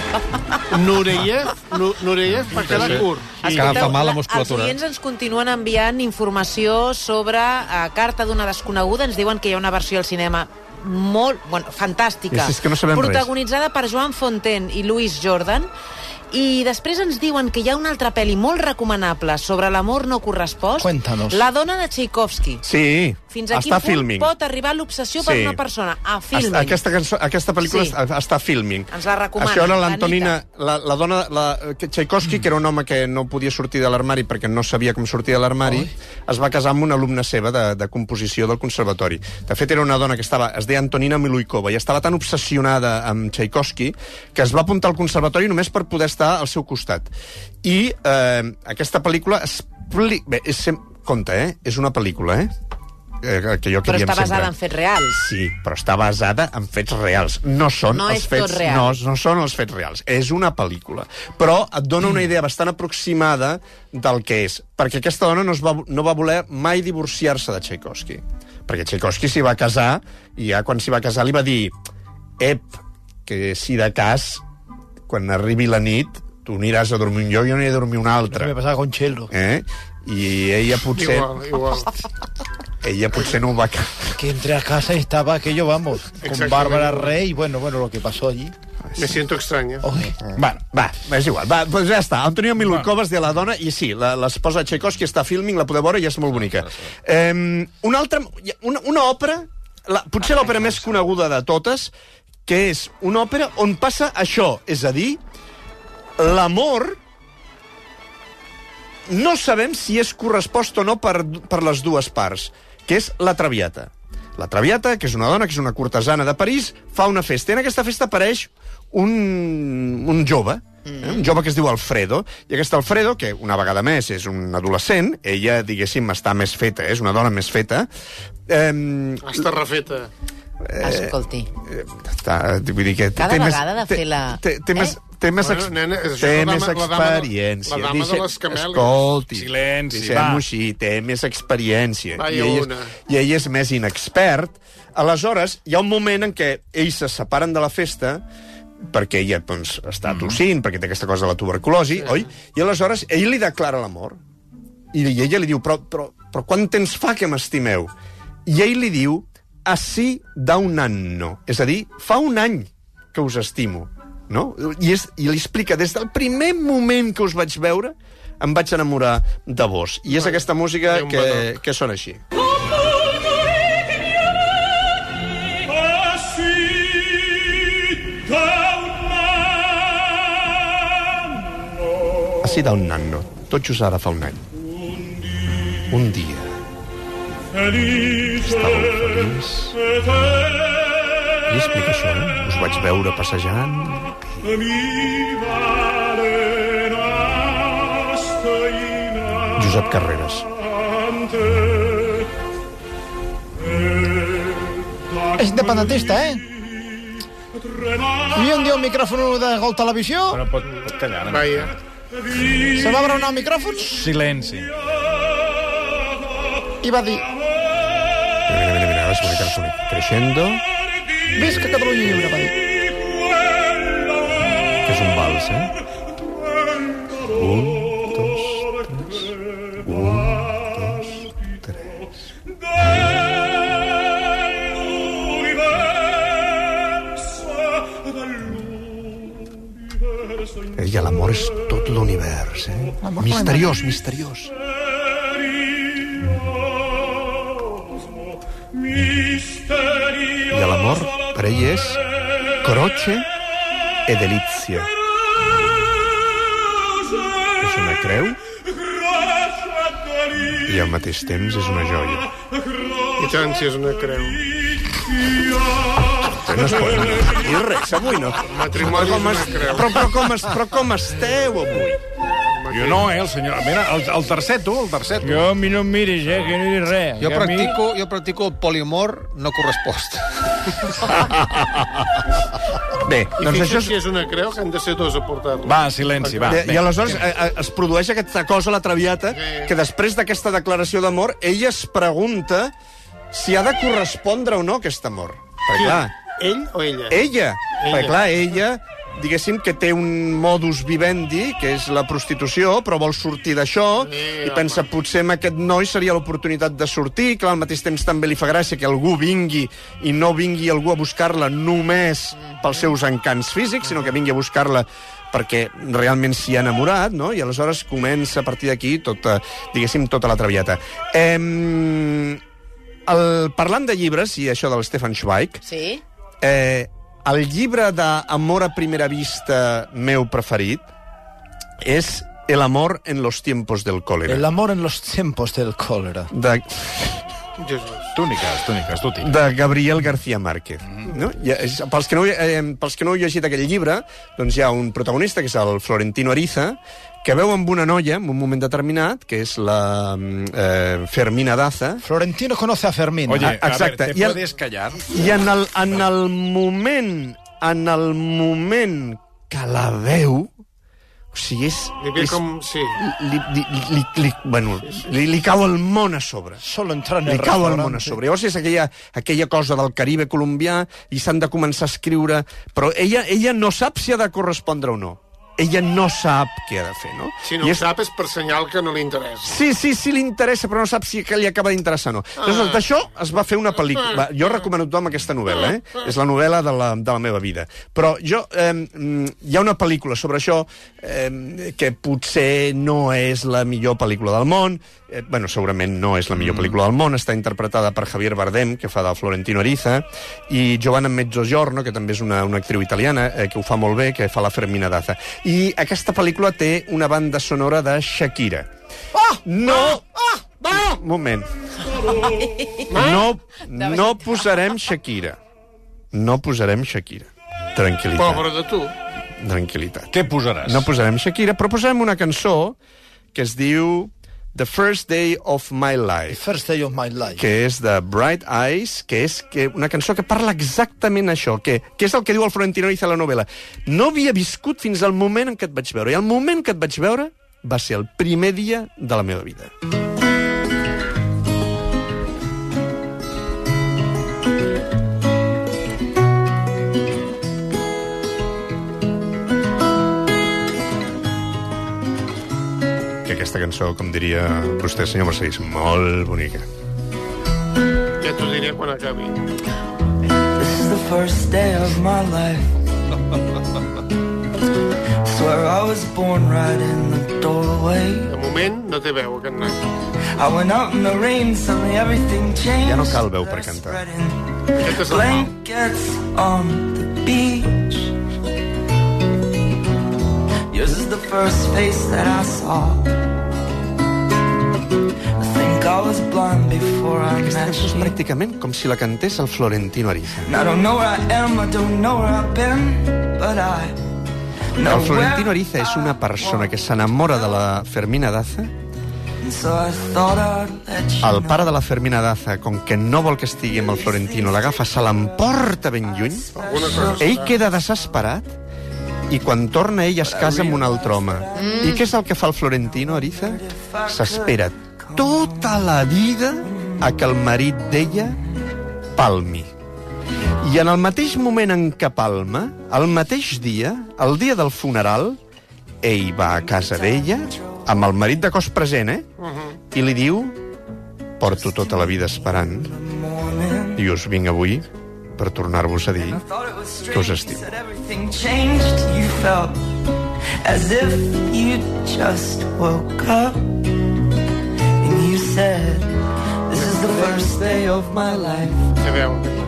Speaker 4: Nureyev, Nu- Nureyev va quedar
Speaker 5: Sí, sí.
Speaker 4: curt.
Speaker 5: Sí. Que fa mal la
Speaker 3: Els
Speaker 5: musculatura.
Speaker 3: oients ens continuen enviant informació sobre eh, Carta d'una desconeguda. Ens diuen que hi ha una versió al cinema molt, bueno, fantàstica.
Speaker 2: És- és que no sabem res.
Speaker 3: protagonitzada per Joan Fontaine i Louis Jordan. I després ens diuen que hi ha una altra pel·li molt recomanable sobre l'amor no correspost.
Speaker 7: Cuéntanos.
Speaker 3: La dona de Tchaikovsky.
Speaker 2: Sí,
Speaker 3: Fins a
Speaker 2: està
Speaker 3: quin punt
Speaker 2: filming.
Speaker 3: pot arribar l'obsessió per
Speaker 2: Sí.
Speaker 3: una persona? A
Speaker 2: Filming.
Speaker 3: filming.
Speaker 2: Aquesta, cançó, aquesta pel·lícula
Speaker 3: Sí.
Speaker 2: sí. està filming.
Speaker 3: Ens la recomana,
Speaker 2: Això era
Speaker 3: la
Speaker 2: l'Antonina,
Speaker 3: Anita.
Speaker 2: la, la dona... La, que Tchaikovsky, que era un home que no podia sortir de l'armari perquè no sabia com sortir de l'armari, es va casar amb una alumna seva de, de composició del conservatori. De fet, era una dona que estava... Es deia Antonina Miluikova i estava tan obsessionada amb Tchaikovsky que es va apuntar al conservatori només per poder estar al seu costat. I eh, aquesta pel·lícula... Expli... Bé, és sem... Compte, eh? És una pel·lícula, eh? Eh, que jo que
Speaker 3: Però
Speaker 2: diem
Speaker 3: està basada
Speaker 2: sempre.
Speaker 3: en fets reals.
Speaker 2: Sí, però està basada en fets reals. No són
Speaker 3: No
Speaker 2: els
Speaker 3: és
Speaker 2: fets
Speaker 3: tot real.
Speaker 2: No, no són els fets reals. És una pel·lícula. Però et dona una idea bastant aproximada del que és. Perquè aquesta dona no, es va, no va voler mai divorciar-se de Tchaikovsky. Perquè Tchaikovsky s'hi va casar i ja quan s'hi va casar li va dir ep, que si de cas quan arribi la nit tu aniràs a dormir un lloc i jo aniré a dormir un altre.
Speaker 7: Me pasaba con Chelo.
Speaker 2: Eh? I ella potser,
Speaker 4: Igual, igual.
Speaker 2: ella potser no ho va... ca-
Speaker 7: Que entré a casa y estaba aquello, vamos, con
Speaker 4: Exactamente.
Speaker 7: Bárbara Rey. y Bueno, bueno, lo que pasó allí.
Speaker 4: Me siento extraña.
Speaker 7: Oye,
Speaker 2: Bueno, va, és igual. Va, doncs ja està. Antonio Miluikova es de la dona i sí, la- l'esposa de Tchaikovsky està a filming, la podeu veure i és molt bonica. Um, una altra... hi ha Una, una òpera, la, potser l'òpera més coneguda de totes, que és una òpera on passa això, és a dir, l'amor no sabem si és correspost o no per, per les dues parts, que és la Traviata. La Traviata, que és una dona, que és una cortesana de París, fa una festa. I en aquesta festa apareix un, un jove, Mm. Un jove que es diu Alfredo, i aquest Alfredo, que una vegada més és un adolescent, ella, diguéssim, està més feta, és una dona més feta, eh,
Speaker 4: Està refeta.
Speaker 3: Escolti,
Speaker 2: està, vull dir que té,
Speaker 3: Cada
Speaker 2: té més,
Speaker 3: vegada de
Speaker 2: té-
Speaker 3: fer la-
Speaker 2: té, té,
Speaker 3: Eh?
Speaker 2: més, té més,
Speaker 4: Bueno,
Speaker 2: ex-
Speaker 4: nena, és això,
Speaker 2: té
Speaker 4: la dama-
Speaker 2: més
Speaker 4: la dama de-
Speaker 2: experiència.
Speaker 4: la dama de les camèlies.
Speaker 2: Escolti,
Speaker 1: Silenci, va.
Speaker 2: deixem-ho així, té més experiència.
Speaker 4: Vaya
Speaker 2: I ell,
Speaker 4: una.
Speaker 2: és, I ell és més inexpert. Aleshores, hi ha un moment en què ells se separen de la festa perquè ella doncs,
Speaker 4: Mm.
Speaker 2: està tossint, perquè té aquesta cosa de la tuberculosi, sí. oi? I aleshores ell li declara l'amor. I, I ella li diu, però, però, però quant temps fa que m'estimeu? I ell li diu, així da un anno. És a dir, fa un any que us estimo. No? I, és, I li explica, des del primer moment que us vaig veure, em vaig enamorar de vos. I és aquesta música
Speaker 4: un
Speaker 2: que,
Speaker 4: badoc.
Speaker 2: que sona així. Així da un anno. Tot just ara fa un any. Un dia. Estàveu feliç. I explica això, eh? Us vaig veure passejant. Josep Carreras.
Speaker 7: Es independentista, ¿eh? Y un día un micrófono de Gol Televisión.
Speaker 1: Bueno, pot, pot callar. Una
Speaker 4: Vaya.
Speaker 7: Se va abrir un micrófono
Speaker 1: mica. Silenci.
Speaker 7: y va a decir...
Speaker 2: Mira, mira, mira, mira, ara sona cançó. Crescendo,
Speaker 7: Visca Catalunya lliure, va dir.
Speaker 2: que és un vals, eh? Un, dos, tres. Un, dos, tres. Eh, I l'amor és tot l'univers, eh? Misteriós, misteriós. I l'amor per ell és croce e delizia. És una creu i al mateix temps és una joia.
Speaker 4: I tant, si és una creu.
Speaker 2: No es pot dir res, avui no.
Speaker 4: Matrimoni és una creu.
Speaker 2: Però, però, com, es, però com esteu avui?
Speaker 1: Jo no, eh, el senyor... Mira, el, el tercer, tu, el tercer.
Speaker 6: Jo a mi no em miris, eh, que no he dit res.
Speaker 5: Jo
Speaker 6: Que a mi-
Speaker 5: practico, jo practico el poliamor no correspost.
Speaker 2: Bé,
Speaker 4: I
Speaker 2: doncs això
Speaker 4: fixa't
Speaker 2: és...
Speaker 4: si és una creu, que han de ser dos a portar-la.
Speaker 1: Va, silenci, va.
Speaker 2: I, I
Speaker 1: Vinga.
Speaker 2: aleshores eh, eh, es produeix aquesta cosa, la traviata,
Speaker 4: Sí.
Speaker 2: que després d'aquesta declaració d'amor, ella es pregunta si ha de correspondre o no a aquest amor. Perquè, clar,
Speaker 4: Ell o ella?
Speaker 2: ella. Perquè,
Speaker 4: Ella.
Speaker 2: clar, ella diguéssim que té un modus vivendi, que és la prostitució, però vol sortir d'això,
Speaker 4: Sí,
Speaker 2: i pensa, potser amb aquest noi seria l'oportunitat de sortir, clar, al mateix temps també li fa gràcia que algú vingui i no vingui algú a buscar-la només
Speaker 4: Mhm.
Speaker 2: pels seus encants físics, sinó que vingui a buscar-la perquè realment s'hi ha enamorat, no? I aleshores comença a partir d'aquí tota, diguéssim, tota la traviata. Em... El, parlant de llibres, i això del Stefan Zweig,
Speaker 3: sí?
Speaker 2: Eh, el llibre d'Amor a primera vista meu preferit és El amor en los tiempos del cólera.
Speaker 7: El amor en los tiempos del cólera.
Speaker 2: De,
Speaker 4: Jesús.
Speaker 1: Túniques, túniques, tu tinc.
Speaker 2: de Gabriel García Márquez. No? I, és- pels, que no, eh, pels que no heu llegit aquell llibre, doncs hi ha un protagonista, que és el Florentino Ariza, que veu amb una noia, en un moment determinat, que és la mm, eh, Fermina Daza,
Speaker 7: Florentino conoce a Fermín.
Speaker 1: Oye,
Speaker 2: Ah, exacte.
Speaker 1: a ver,
Speaker 2: I
Speaker 1: ¿te
Speaker 2: el-
Speaker 1: puedes callar?
Speaker 2: I en el, en el moment, en el moment que la veu, o sigui, és...
Speaker 4: Li ve
Speaker 2: és
Speaker 4: com... Sí.
Speaker 2: li, li, li, li, bueno, li, li cau el món a sobre.
Speaker 7: Solo entrar en el
Speaker 2: Li cau el món
Speaker 7: restaurante.
Speaker 2: a
Speaker 4: eh?
Speaker 2: sobre. Llavors és aquella, aquella cosa del Caribe colombià i s'han de començar a escriure... Però ella, ella no sap si ha de correspondre o no. Ella no sap què ha de fer, no?
Speaker 4: Si no
Speaker 2: I
Speaker 4: ho
Speaker 2: és-
Speaker 4: sap és per senyal que no li interessa.
Speaker 2: Sí, sí, sí, li interessa, però no sap si que li acaba d'interessar o no. Llavors, d'això es va fer una pel·lícula. Va, Jo recomano a tothom aquesta novel·la, eh? És la novel·la de la, de la meva vida. Però jo... Eh, mm, hi ha una pel·lícula sobre això eh, que potser no és la millor pel·lícula del món. Eh, bueno, segurament no és la millor pel·lícula del món. Està interpretada per Javier Bardem, que fa de Florentino Ariza, i Giovanna Mezzogiorno, que també és una, una actriu italiana, eh, que ho fa molt bé, que fa la Fermina Daza. I aquesta pel·lícula té una banda sonora de Shakira. No! Ah! Va! Un moment. No, no posarem Shakira. No posarem Shakira. Tranquilitat.
Speaker 4: Pobre de tu.
Speaker 2: Tranquilitat.
Speaker 1: Què posaràs?
Speaker 2: No posarem Shakira, però posarem una cançó que es diu The First Day of My Life,
Speaker 7: First day of my life.
Speaker 2: que és de Bright Eyes, que és que una cançó que parla exactament això, que, que és el que diu el Florentino Ariza a la novel·la. No havia viscut fins al moment en què et vaig veure, i el moment que et vaig veure va ser el primer dia de la meva vida. Que aquesta cançó, com diria vostè, senyor Mercedes, molt bonica.
Speaker 4: Ja t'ho diré quan acabi.
Speaker 8: This is the first day of my life. Swear I was born right in the doorway.
Speaker 4: De moment no té veu, aquest nen.
Speaker 8: I went out in the rain, suddenly everything changed.
Speaker 2: Ja no cal veu per cantar.
Speaker 8: Spreading
Speaker 4: Aquest és el mal.
Speaker 8: blankets on the beach. Yours is the first face that I saw. I think I was blind before I met
Speaker 2: És
Speaker 8: you.
Speaker 2: pràcticament com si la cantés el Florentino Ariza.
Speaker 8: And I don't know where I am, I don't know where I've been, but I know
Speaker 2: El Florentino
Speaker 8: where
Speaker 2: Ariza és
Speaker 8: I
Speaker 2: una persona que s'enamora de la Fermina Daza.
Speaker 8: want. So I thought I'd let you
Speaker 2: El
Speaker 8: know.
Speaker 2: pare de la Fermina Daza, com que no vol que estigui amb el Florentino, l'agafa, se l'emporta ben lluny.
Speaker 4: Alguna cosa.
Speaker 2: Ell queda desesperat i quan torna ell es casa amb un altre home. I què és el que fa el Florentino Ariza? S'espera tota la vida a que el marit d'ella palmi. I en el mateix moment en què palma, el mateix dia, el dia del funeral, ell va a casa d'ella, amb el marit de cos present, eh?
Speaker 4: Uh-huh.
Speaker 2: I li diu, porto tota la vida esperant, i us vinc avui per tornar-vos a dir
Speaker 8: Thought it was strange,
Speaker 2: que us estimo.
Speaker 8: said everything changed, you felt as if you just woke up. And you said, this is the first day of my life.
Speaker 4: Té veu.
Speaker 2: Doncs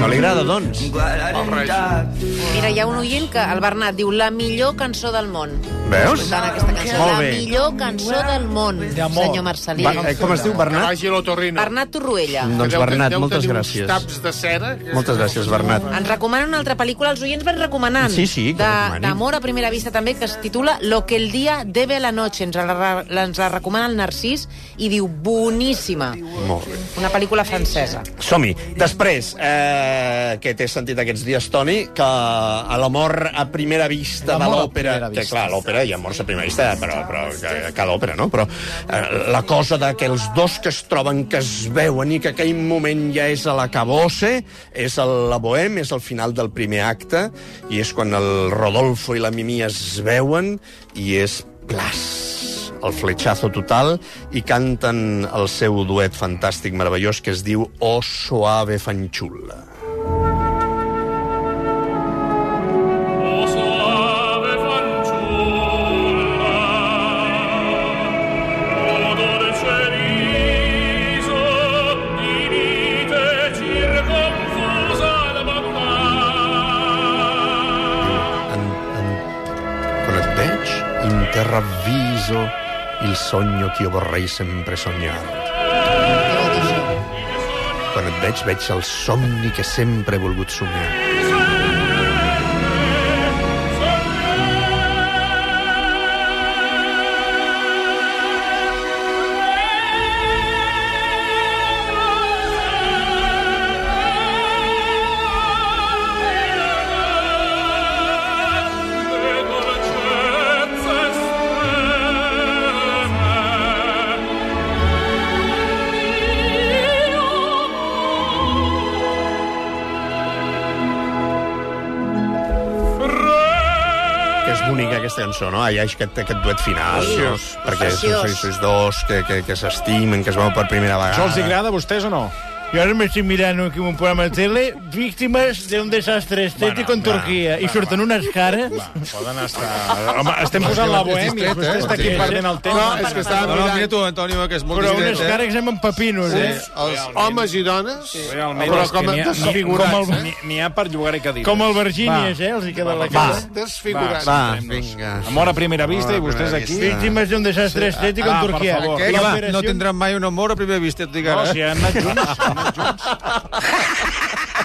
Speaker 2: No li agrada, doncs?
Speaker 8: Glad I
Speaker 4: Alright.
Speaker 8: didn't die.
Speaker 3: Mira, hi ha un oient que, el Bernat, diu la millor cançó del món.
Speaker 2: Veus?
Speaker 3: Escoltant aquesta cançó.
Speaker 2: Molt
Speaker 3: la
Speaker 2: bé.
Speaker 3: millor cançó del món,
Speaker 7: D'amor.
Speaker 3: senyor Marcelí.
Speaker 2: Va, eh, com es diu,
Speaker 4: Que
Speaker 2: Bernat?
Speaker 4: vagi a l'otorrino.
Speaker 3: Bernat Torroella.
Speaker 2: No. Doncs,
Speaker 4: Que deu-
Speaker 2: Bernat,
Speaker 4: deu
Speaker 2: moltes
Speaker 4: tenir
Speaker 2: gràcies.
Speaker 4: Uns taps de cera. que-
Speaker 2: Moltes gràcies, Bernat.
Speaker 3: Ens recomana una altra pel·lícula, els oients van recomanant.
Speaker 2: Sí, sí, que
Speaker 3: de-
Speaker 2: recomanin.
Speaker 3: D'amor a primera vista també, que es titula Lo que el día debe a la noche. Ens la, re- la- ens la recomana el Narcís i diu boníssima.
Speaker 2: Molt bé.
Speaker 3: Una pel·lícula francesa.
Speaker 2: Som-hi. Després, eh, que t'he sentit aquests dies, Toni, que a l'amor a primera vista de
Speaker 7: L'amor a
Speaker 2: l'òpera...
Speaker 7: primera
Speaker 2: Que,
Speaker 7: vista.
Speaker 2: clar, l'òpera hi ha morts a primera vista, però, però que, que a l'òpera, no? Però eh, la cosa de que els dos que es troben, que es veuen i que aquell moment ja és a la cabosse, és a la bohème, és al final del primer acte, i és quan el Rodolfo i la Mimí es veuen, i és plas el fletxazo total i canten el seu duet fantàstic, meravellós, que es diu O suave fanxula.
Speaker 9: Oh, suave fanciulla, oh dolce riso di vite circonfusa da madurar.
Speaker 2: En, en, quan et veig, interravviso il sogno que jo vorrei sempre soñar. Quan et veig, veig el somni que sempre he volgut somiar. Que és bonica aquesta cançó, no? Allà és aquest, aquest duet final.
Speaker 4: Preciós.
Speaker 2: Perquè sois,
Speaker 3: Preciós.
Speaker 2: sois, sois dos que, que, que s'estimen, que es veuen per primera vegada.
Speaker 6: Això els hi agrada a vostès o no? Jo ara m'estic mirant aquí un programa de tele, víctimes d'un desastre estètic
Speaker 1: Bueno,
Speaker 6: en
Speaker 1: va,
Speaker 6: Turquia, i surten unes cares...
Speaker 1: Poden estar... Home, estem posant la bohèmia, però vostè està aquí perdent
Speaker 6: eh?
Speaker 1: el temps.
Speaker 4: No, és que estava
Speaker 5: No, no,
Speaker 4: mirant-
Speaker 5: mira tu, Antonio, que és molt
Speaker 6: Però
Speaker 5: discret,
Speaker 6: unes
Speaker 5: eh?
Speaker 6: cares que semblen pepinos, eh?
Speaker 4: Uns, els homes i dones,
Speaker 1: Realment,
Speaker 4: però
Speaker 1: és que
Speaker 4: com a
Speaker 1: n'hi ha-
Speaker 4: desfigurats.
Speaker 6: com el-
Speaker 1: N'hi- N'hi ha per llogar i cadires.
Speaker 6: Com el Virgínies, eh? Els hi queda la cara.
Speaker 4: Desfigurats.
Speaker 2: Va,
Speaker 1: centrem-nos.
Speaker 2: vinga.
Speaker 1: Amor a primera vista
Speaker 4: Amor a
Speaker 1: i vostès
Speaker 4: primera
Speaker 1: aquí...
Speaker 6: Víctimes d'un desastre estètic en
Speaker 1: Ah, per
Speaker 6: Turquia.
Speaker 1: favor.
Speaker 5: Què,
Speaker 6: La
Speaker 5: va,
Speaker 6: operació-
Speaker 5: no tindran mai un amor a primera vista, et dic
Speaker 1: No, eh?
Speaker 5: ara.
Speaker 1: si han anat junts, han anat junts.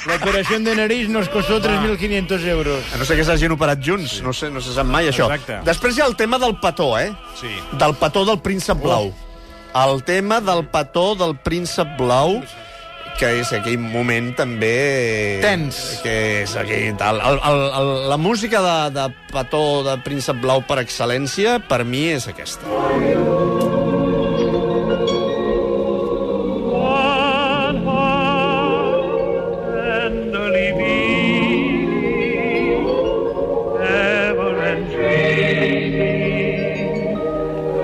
Speaker 6: La operació de nariz nos costó 3.500 euros.
Speaker 2: A no sé que s'hagin operat junts, no, sé, no se sap mai això.
Speaker 1: Exacte.
Speaker 2: Després hi ha el tema del petó, eh?
Speaker 1: Sí.
Speaker 2: Del petó del príncep blau. El tema del petó del príncep blau, que és aquell moment també... eh,
Speaker 5: Tens.
Speaker 2: Que és aquell tal. El, el, el, la música de, de petó de príncep blau per excel·lència, per mi, és aquesta.
Speaker 9: One heart tenderly beating, ever and dreaming,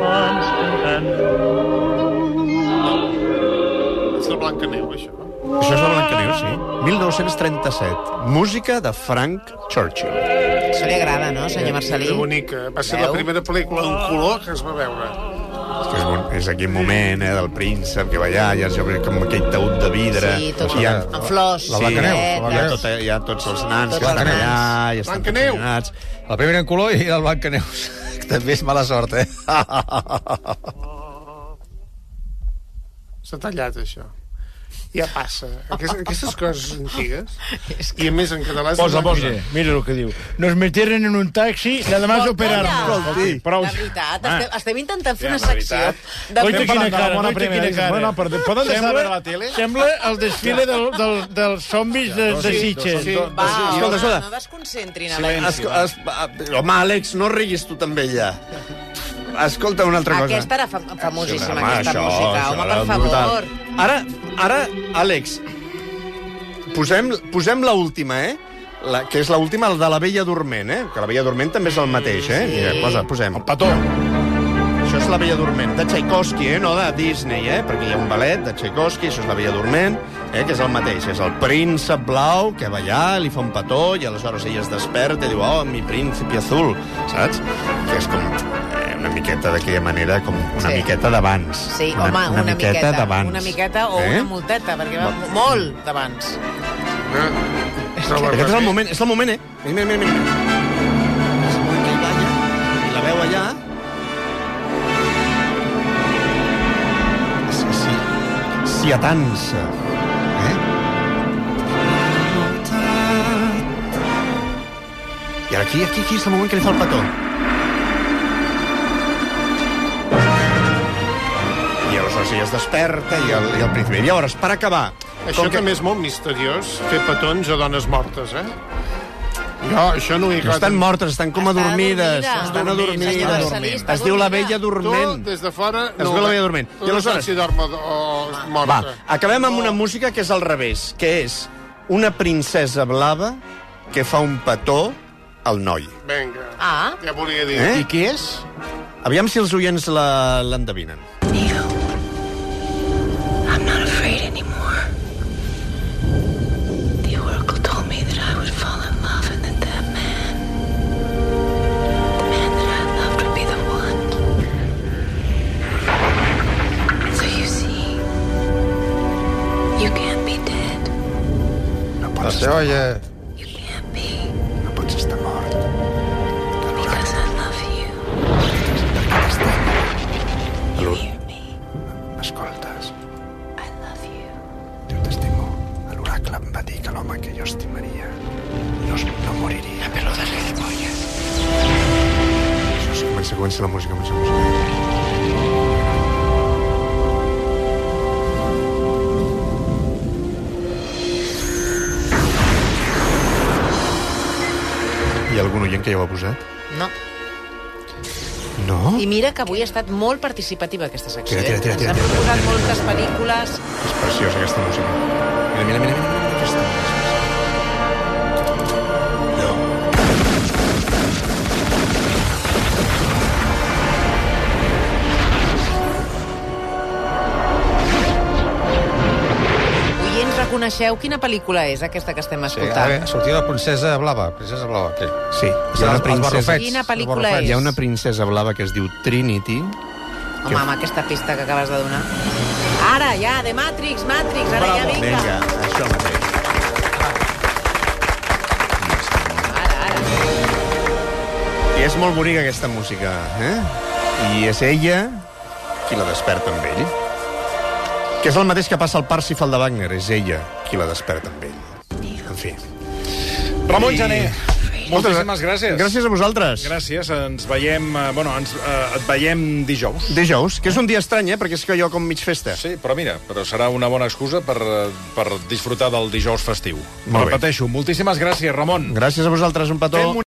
Speaker 9: constant and
Speaker 4: És el Blancaneu, això.
Speaker 2: Això és el Blancaneu, sí. 1937. Música de Frank Churchill.
Speaker 3: Això li agrada, no, senyor Marcelí?
Speaker 4: Que bonica. Va ser
Speaker 3: Veu?
Speaker 4: la primera pel·lícula d'un color que es va veure.
Speaker 2: Que és, bon, és aquell moment, eh, del príncep que va allà, hi ha jo crec, com aquell taüt de vidre.
Speaker 3: Sí, tot
Speaker 2: hi ha,
Speaker 3: amb- amb flors,
Speaker 2: la
Speaker 3: sí,
Speaker 2: Blancaneu,
Speaker 3: floretes.
Speaker 2: hi, ha tot, eh, hi ha tots els nans
Speaker 3: Tots
Speaker 2: que estan
Speaker 3: els nans.
Speaker 2: allà i estan
Speaker 4: Blancaneu!
Speaker 2: fascinats.
Speaker 5: La primera en color i el blanc que neus. Que També és mala sort, eh?
Speaker 4: S'ha tallat, això. Ja passa. Aquestes, aquestes coses antigues. I a més, en català... és
Speaker 6: Posa,
Speaker 4: el
Speaker 6: posa.
Speaker 4: Blancaneu.
Speaker 6: Mira el que diu. Nos metieron en un taxi, nada más
Speaker 3: Escolta,
Speaker 6: operar-nos.
Speaker 3: escolti,
Speaker 6: Prou.
Speaker 3: La veritat,
Speaker 2: Ah.
Speaker 3: estem, estem intentant fer
Speaker 1: Ja,
Speaker 3: una
Speaker 1: la
Speaker 3: secció...
Speaker 1: veritat.
Speaker 3: De...
Speaker 6: Oita, quina
Speaker 1: parlant de la
Speaker 6: cara,
Speaker 1: bona
Speaker 6: oita,
Speaker 1: primera
Speaker 6: quina
Speaker 1: vista.
Speaker 6: cara.
Speaker 1: eh? Bueno, però poden deixar de veure la tele?
Speaker 6: Sembla el desfile del, del, dels zombis de, de Sitges.
Speaker 4: Sí,
Speaker 3: Va,
Speaker 4: sí,
Speaker 3: home,
Speaker 2: escolta, escolta.
Speaker 3: no desconcentrin a la
Speaker 2: Es, es, es, home, Àlex, no riguis tu també allà. Escolta una altra cosa.
Speaker 3: Aquesta era fam famosíssima,
Speaker 2: Home,
Speaker 3: aquesta
Speaker 2: això,
Speaker 3: música.
Speaker 2: això
Speaker 3: Home,
Speaker 2: era
Speaker 3: per favor.
Speaker 2: brutal. Ara, ara, Àlex, posem, posem la última, eh? La, que és l'última, la de la vella dorment, eh? Que la vella dorment també és el mateix, eh? Mira, posa, posem. El petó. Això és la vella dorment, de Tchaikovsky, eh? No de Disney, eh? Perquè hi ha un ballet de Tchaikovsky, això és la vella dorment, eh? Que és el mateix, és el príncep blau que va allà, li fa un petó, i aleshores ella es desperta i diu, oh, mi príncipe azul, saps? Que és com eh, una miqueta d'aquella manera, com una
Speaker 3: Sí.
Speaker 2: miqueta d'abans.
Speaker 3: Sí, una, home, una, miqueta,
Speaker 2: d'abans. Eh?
Speaker 3: Una miqueta o una multeta, perquè va
Speaker 2: Va.
Speaker 3: molt d'abans.
Speaker 4: Eh?
Speaker 2: Aquest és el moment, és el moment, eh? Mira, mira, mira. És el moment que hi balla, i la veu allà. És que sí. Si atansa. Eh? I ara aquí, aquí, aquí és el moment que li fa el petó. I aleshores ella es desperta i el, i el príncipe. Llavors, per acabar...
Speaker 4: Això
Speaker 2: com
Speaker 4: que... també és molt misteriós, fer petons a dones mortes, eh? Jo, això no ho he
Speaker 2: No estan mortes, estan com
Speaker 3: Està
Speaker 2: adormides.
Speaker 3: adormida.
Speaker 2: Estan
Speaker 3: Dormint,
Speaker 2: adormides.
Speaker 3: senyora Marcelí, està
Speaker 2: Es diu la
Speaker 3: adormida.
Speaker 2: vella
Speaker 4: Tu,
Speaker 2: dorment.
Speaker 4: des de fora...
Speaker 2: Es veu la veia dorment.
Speaker 4: Tu
Speaker 2: I
Speaker 4: no
Speaker 2: aleshores-
Speaker 4: saps si dorm o, o
Speaker 2: Va,
Speaker 4: morta.
Speaker 2: acabem amb una música que és al revés, que és una princesa blava que fa un petó al noi.
Speaker 4: Vinga.
Speaker 3: Ah.
Speaker 4: Ja volia dir.
Speaker 2: Eh?
Speaker 4: I qui és?
Speaker 2: Aviam si els oients la- l'endevinen.
Speaker 8: Neo, I'm not afraid anymore. The Oracle told me that I would fall in love and that that man, the man that I loved, would be the one. So you see, you can't be dead.
Speaker 2: No pots, estar,
Speaker 8: You can't be
Speaker 2: no pots estar mort.
Speaker 8: because I love you. You hear me?
Speaker 2: M'escoltes?
Speaker 8: I love you.
Speaker 2: Jo t'estimo. L'oracle em va dir que l'home que jo estimaria no, es- no moriria. Però de l'Espolla. Això sí, comença, comença la música, comença la música. Hi ha algun oient que ja ho ha posat?
Speaker 3: No.
Speaker 2: No?
Speaker 3: I mira que avui ha estat molt participativa aquesta secció.
Speaker 2: Tira, tira,
Speaker 3: eh?
Speaker 2: tira, tira,
Speaker 3: Ens
Speaker 2: tira,
Speaker 3: han proposat
Speaker 2: tira.
Speaker 3: moltes pel·lícules.
Speaker 2: És preciosa aquesta música. Mira, mira, mira, mira, mira aquesta. No.
Speaker 3: Ui, reconeixeu quina pel·lícula és aquesta que estem
Speaker 5: Sí, a
Speaker 3: escoltant?
Speaker 5: veure, sortia la princesa blava, princesa blava, aquell.
Speaker 2: Sí, hi ha
Speaker 5: Els-
Speaker 2: una
Speaker 5: els
Speaker 2: princesa...
Speaker 5: barrufets,
Speaker 3: Quina
Speaker 5: els
Speaker 3: pel·lícula
Speaker 5: barrufets.
Speaker 3: és?
Speaker 2: Hi ha una princesa blava que es diu Trinity.
Speaker 3: Home, amb aquesta pista que acabes de donar. Ara, ja, de Matrix, Matrix, ara ja vinga.
Speaker 2: Vinga, això mateix. I és molt bonica aquesta música, eh? I és ella qui la desperta amb ell. Que és el mateix que passa al Parsifal de Wagner, és ella qui la desperta amb ell. En fi.
Speaker 1: Ramon Jané, moltíssimes gràcies.
Speaker 2: Gràcies a vosaltres.
Speaker 1: Gràcies, ens veiem... eh, Bueno, ens, eh, et veiem dijous.
Speaker 2: Dijous, que és un dia estrany, eh? Perquè és que jo com mig festa.
Speaker 1: Sí, però mira, però serà una bona excusa per, eh, per disfrutar del dijous festiu.
Speaker 2: Molt bé.
Speaker 1: Repeteixo, moltíssimes gràcies, Ramon.
Speaker 2: Gràcies a vosaltres, un petó.
Speaker 1: Fem un-